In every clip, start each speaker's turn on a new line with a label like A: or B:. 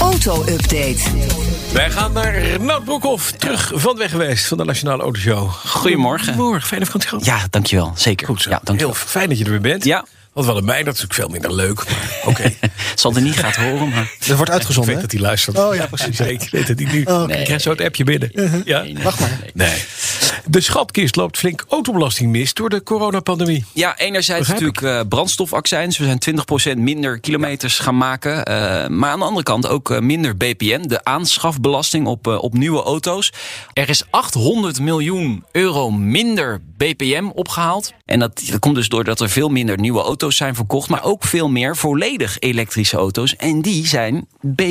A: Auto-update.
B: Wij gaan naar Renaud Broekhoff, terug van weg geweest van de Nationale Autoshow.
C: Goedemorgen.
B: Goedemorgen, fijne vakantie. gehad.
C: Ja, dankjewel. Zeker.
B: Goed zo.
C: Ja,
B: Heel
C: dankjewel.
B: fijn dat je er weer bent.
C: Ja.
B: Want wel mij, dat is natuurlijk veel minder leuk. Maar oké,
C: Zal er niet gaat horen, maar...
D: Dat wordt
B: ik
D: uitgezonden.
B: weet
D: hè?
B: dat hij luistert.
D: Oh ja, precies.
B: Ik weet- ik weet dat hij nu.
D: Oh, oké.
B: Ik krijg zo het appje binnen. Ja?
D: Wacht maar.
B: Nee. De schatkist loopt flink autobelasting mis door de coronapandemie.
C: Ja, enerzijds
B: Begrijp
C: natuurlijk eh brandstofaccijns. We zijn 20% minder kilometers gaan maken. eh, maar aan de andere kant ook eh, minder BPN, de aanschafbelasting op, eh, op nieuwe auto's. Er is 800 miljoen euro minder BPM opgehaald. En dat, dat komt dus doordat er veel minder nieuwe auto's zijn verkocht. Maar ook veel meer volledig elektrische auto's. En die zijn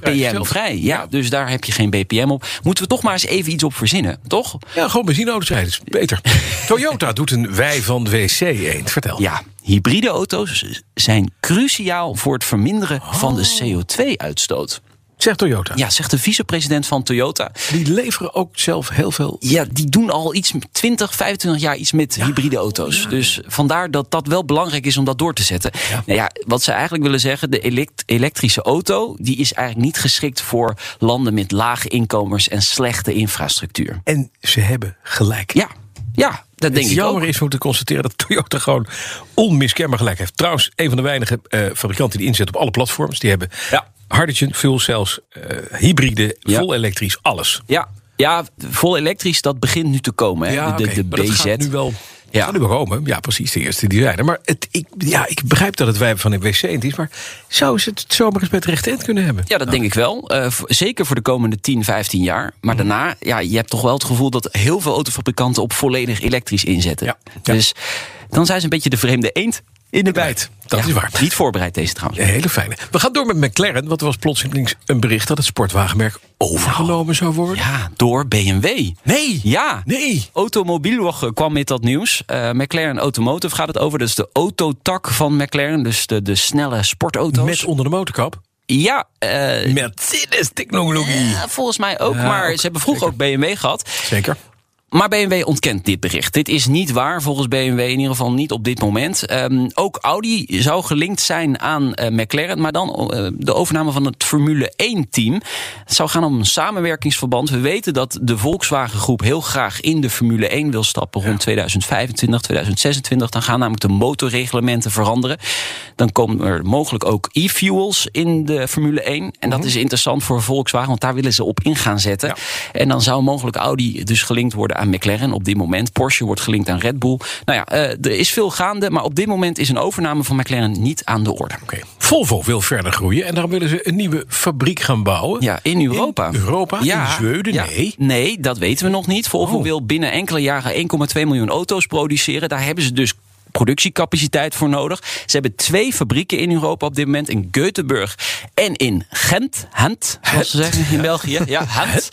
C: BPM-vrij. Ja,
B: Ja.
C: dus daar heb je geen BPM op. Moeten we toch maar eens even iets op verzinnen, toch?
B: Ja, gewoon benzineauto's rijden. is Beter. Toyota doet een wij van WC eend. Vertel.
C: Ja, hybride auto's zijn cruciaal voor het verminderen
B: Oh.
C: van de CO2-uitstoot.
B: Zegt Toyota.
C: Ja, zegt de vicepresident van Toyota.
B: Die leveren ook zelf heel veel.
C: Ja, die doen al iets met 20, 25 jaar iets met hybride auto's. Dus vandaar dat dat wel belangrijk is om dat door te zetten. Nou ja, wat ze eigenlijk willen zeggen, de elekt- elektrische auto... die is eigenlijk niet geschikt voor landen met lage inkomens... en slechte infrastructuur.
B: En ze hebben gelijk.
C: Ja, ja dat denk
B: het
C: ik
B: jammer
C: ook.
B: is we moeten constateren dat Toyota gewoon onmiskenbaar gelijk heeft. Trouwens, een van de weinige eh, fabrikanten die inzet op alle platforms. Die hebben
C: Ja.
B: hydrogen, fuel cells, eh, hybride,
C: Ja.
B: vol elektrisch, alles.
C: Ja, ja, vol elektrisch, dat begint nu te komen. Hè? de,
B: oké,
C: de
B: maar dat
C: BZ.
B: gaat nu wel...
C: Ja.
B: Ja. nu wel komen. Ja, precies, de eerste die zijn er. Maar het, ik, ja, ik begrijp dat het wij van een wc het is, maar zou ze het zomaar eens met recht eind kunnen hebben?
C: Ja, dat denk ik wel. Eh, v- zeker voor de komende 10, 15 jaar. Maar
B: Mhm.
C: daarna, ja, je hebt toch wel het gevoel dat heel veel autofabrikanten op volledig elektrisch inzetten.
B: Ja, ja.
C: Dus dan zijn ze een beetje de vreemde eend in de bijt.
B: bijt, dat is waar.
C: Niet voorbereid deze trouwens.
B: Een hele fijne. We gaan door met McLaren, want er was plotseling een bericht dat het sportwagenmerk overgenomen zou worden.
C: Ja, door BMW.
B: Nee!
C: Ja.
B: Nee!
C: Automobielwoche kwam met dat nieuws. Eh, McLaren Automotive gaat het over. Dat is de autotak van McLaren. Dus de, de snelle sportauto's.
B: Met onder de motorkap.
C: Ja, eh,
B: Mercedes-technologie.
C: ja, volgens mij ook. maar ze hebben vroeger ook BMW gehad.
B: Zeker.
C: Maar BMW ontkent dit bericht. Dit is niet waar, volgens BMW in ieder geval niet op dit moment. Ehm, ook Audi zou gelinkt zijn aan eh, McLaren, maar dan eh, de overname van het Formule 1-team. Het zou gaan om een samenwerkingsverband. We weten dat de Volkswagen-groep heel graag in de Formule 1 wil stappen rond 2025, 2026. Dan gaan namelijk de motorreglementen veranderen. Dan komen er mogelijk ook e-fuels in de Formule 1. En dat is interessant voor Volkswagen, want daar willen ze op in gaan zetten. En dan zou mogelijk Audi dus gelinkt worden aan McLaren op dit moment. Porsche wordt gelinkt aan Red Bull. Nou ja, eh, er is veel gaande, maar op dit moment is een overname van McLaren niet aan de orde.
B: Oké. Volvo wil verder groeien en daarom willen ze een nieuwe fabriek gaan bouwen.
C: Ja, in Europa.
B: Europa? In Zweden?
C: ja.
B: Nee.
C: Nee, dat weten we nog niet. Volvo
B: Oh.
C: wil binnen enkele jaren 1,2 miljoen auto's produceren. Daar hebben ze dus productiecapaciteit voor nodig. Ze hebben twee fabrieken in Europa op dit moment. In Göteborg en in Gent. Gent, zoals ze zeggen in België. Ja, Gent.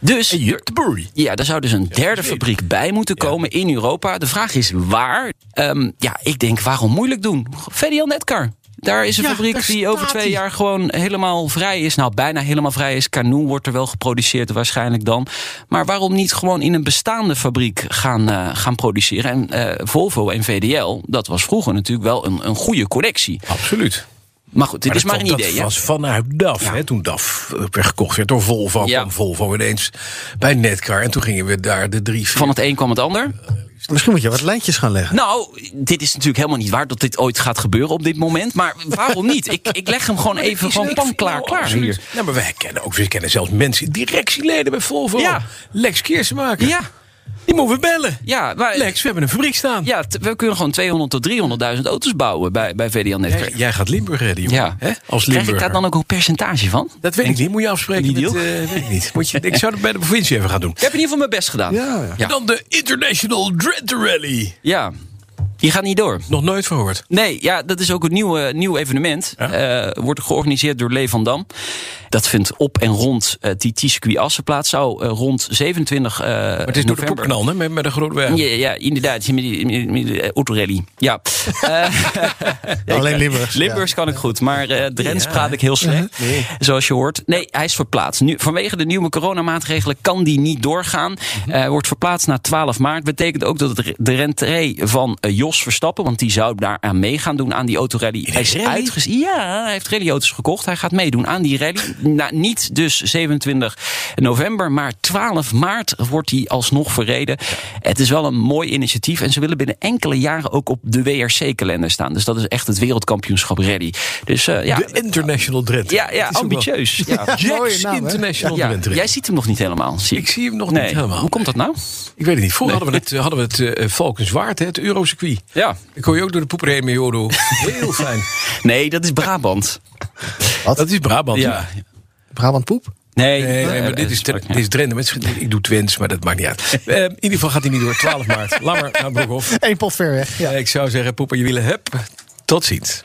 C: Dus...
B: Juttebury.
C: Ja, daar zou dus een derde fabriek bij moeten komen in Europa. De vraag is waar. Ehm, ja, ik denk waarom moeilijk doen? VDL Netcar. Daar is een
D: Ja,
C: fabriek
D: daar
C: die over
D: staat
C: twee
D: die.
C: jaar gewoon helemaal vrij is. Nou, bijna helemaal vrij is. Kanoen wordt er wel geproduceerd waarschijnlijk dan. Maar waarom niet gewoon in een bestaande fabriek gaan, eh, gaan produceren? En eh, Volvo en VDL, dat was vroeger natuurlijk wel een, een goede connectie.
B: Absoluut.
C: Maar goed, dit is maar
B: dat
C: een
B: kwam-
C: idee.
B: Dat
C: hè?
B: was vanuit DAF. Hè, toen DAF eh, werd gekocht werd door Volvo,
C: Ja.
B: kwam Volvo ineens bij Netcar. En toen gingen we daar de drie... vier-
C: Van het een kwam het ander.
D: Misschien moet je wat lijntjes gaan leggen.
C: Nou, dit is natuurlijk helemaal niet waar dat dit ooit gaat gebeuren op dit moment. Maar waarom niet? Ik, ik leg hem gewoon even
B: Is
C: gewoon
B: leuk.
C: pan klaar,
B: Oh,
C: klaar
B: absoluut.
C: hier.
B: Nou, maar wij kennen ook, we kennen zelfs mensen, directieleden bij Volvo.
C: Ja.
B: Lex Keersenmaker.
C: Ja,
B: Die moeten we bellen.
C: ja, maar,
B: Lex, we hebben een fabriek staan.
C: ja, t- we kunnen gewoon 200.000 tot 300.000 auto's bouwen bij, bij VDL Netwerk.
B: Jij, jij gaat Limburg redden, jongen.
C: Ja.
B: Hè? Als
C: Krijg
B: Limburger.
C: ik daar dan ook een percentage van?
B: Dat weet ik niet. Moet je afspreken
C: Die
B: met...
C: deal?
B: eh, weet ik niet. Moet je, ik zou het bij de provincie even gaan doen.
C: Oh, Ik heb in ieder geval mijn best gedaan.
D: Ja, ja.
C: Ja.
B: Dan de International Dread Rally.
C: Ja. Die gaat niet door.
B: Nog nooit verhoord.
C: Nee, ja, dat is ook een nieuw, eh, nieuw evenement. Eh, wordt georganiseerd door Lee van Dam. Dat vindt op en rond eh TT-circuit Assen plaats. Zou eh, rond 27 eh
B: Maar het is door de
C: november...
B: popknal, hè? Met, met de grote weg.
C: Ja, ja, inderdaad. Met die, met die- met die autorally. Ja. Eh,
D: Alleen Limburgs.
C: Limburgs kan ik goed, maar eh Drents praat ik heel slecht. Zoals je hoort. Nee, hij is verplaatst. Nu, vanwege de nieuwe coronamaatregelen kan die niet doorgaan. Eh, wordt verplaatst naar 12 maart. Betekent ook dat het re- de rentree van eh, Jos Verstappen, want die zou daaraan mee gaan doen aan die autorally. Hij is uitges- Ja, hij heeft rallyauto's gekocht. Hij gaat meedoen aan die rally. Nou, niet dus 27 november, maar 12 maart wordt die alsnog verreden. Het is wel een mooi initiatief. En ze willen binnen enkele jaren ook op de WRC-kalender staan. Dus dat is echt het wereldkampioenschap rally. Dus eh, ja,
B: De International Drent.
C: ja, ja
B: Het is ook wel-
C: ambitieus. Ja.
D: Mooie
B: Jacks
D: naam, hè?
B: International
C: Ja,
B: Drent.
C: jij ziet hem nog niet helemaal, zie ik.
B: Ik zie hem nog
C: Nee.
B: niet helemaal.
C: Hoe komt dat nou?
B: Ik weet het niet. Vroeger hadden we het, eh, hadden we het eh, Valkenswaard, hè, het Eurocircuit.
C: Ja.
B: Ik kon je ook door de poeper heen met je auto. Heel fijn.
C: Nee, dat is Brabant.
B: Dat is Brabant.
C: Ja.
D: Brabant poep?
C: Nee,
B: Nee, nee,
C: eh,
B: maar dit is,
C: eh,
B: dit is Drenthe. Mensen- Ik doe Twents, maar dat maakt niet uit. Eh, in ieder geval gaat hij niet door. 12 maart. Lammer naar Broekhof.
D: Eén pot ver weg. Ja.
B: Eh, Ik zou zeggen, poepen je wielen. Hup. Tot ziens.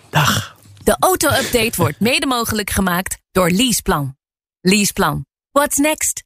A: De auto-update wordt mede mogelijk gemaakt door Leaseplan. Leaseplan. What's next?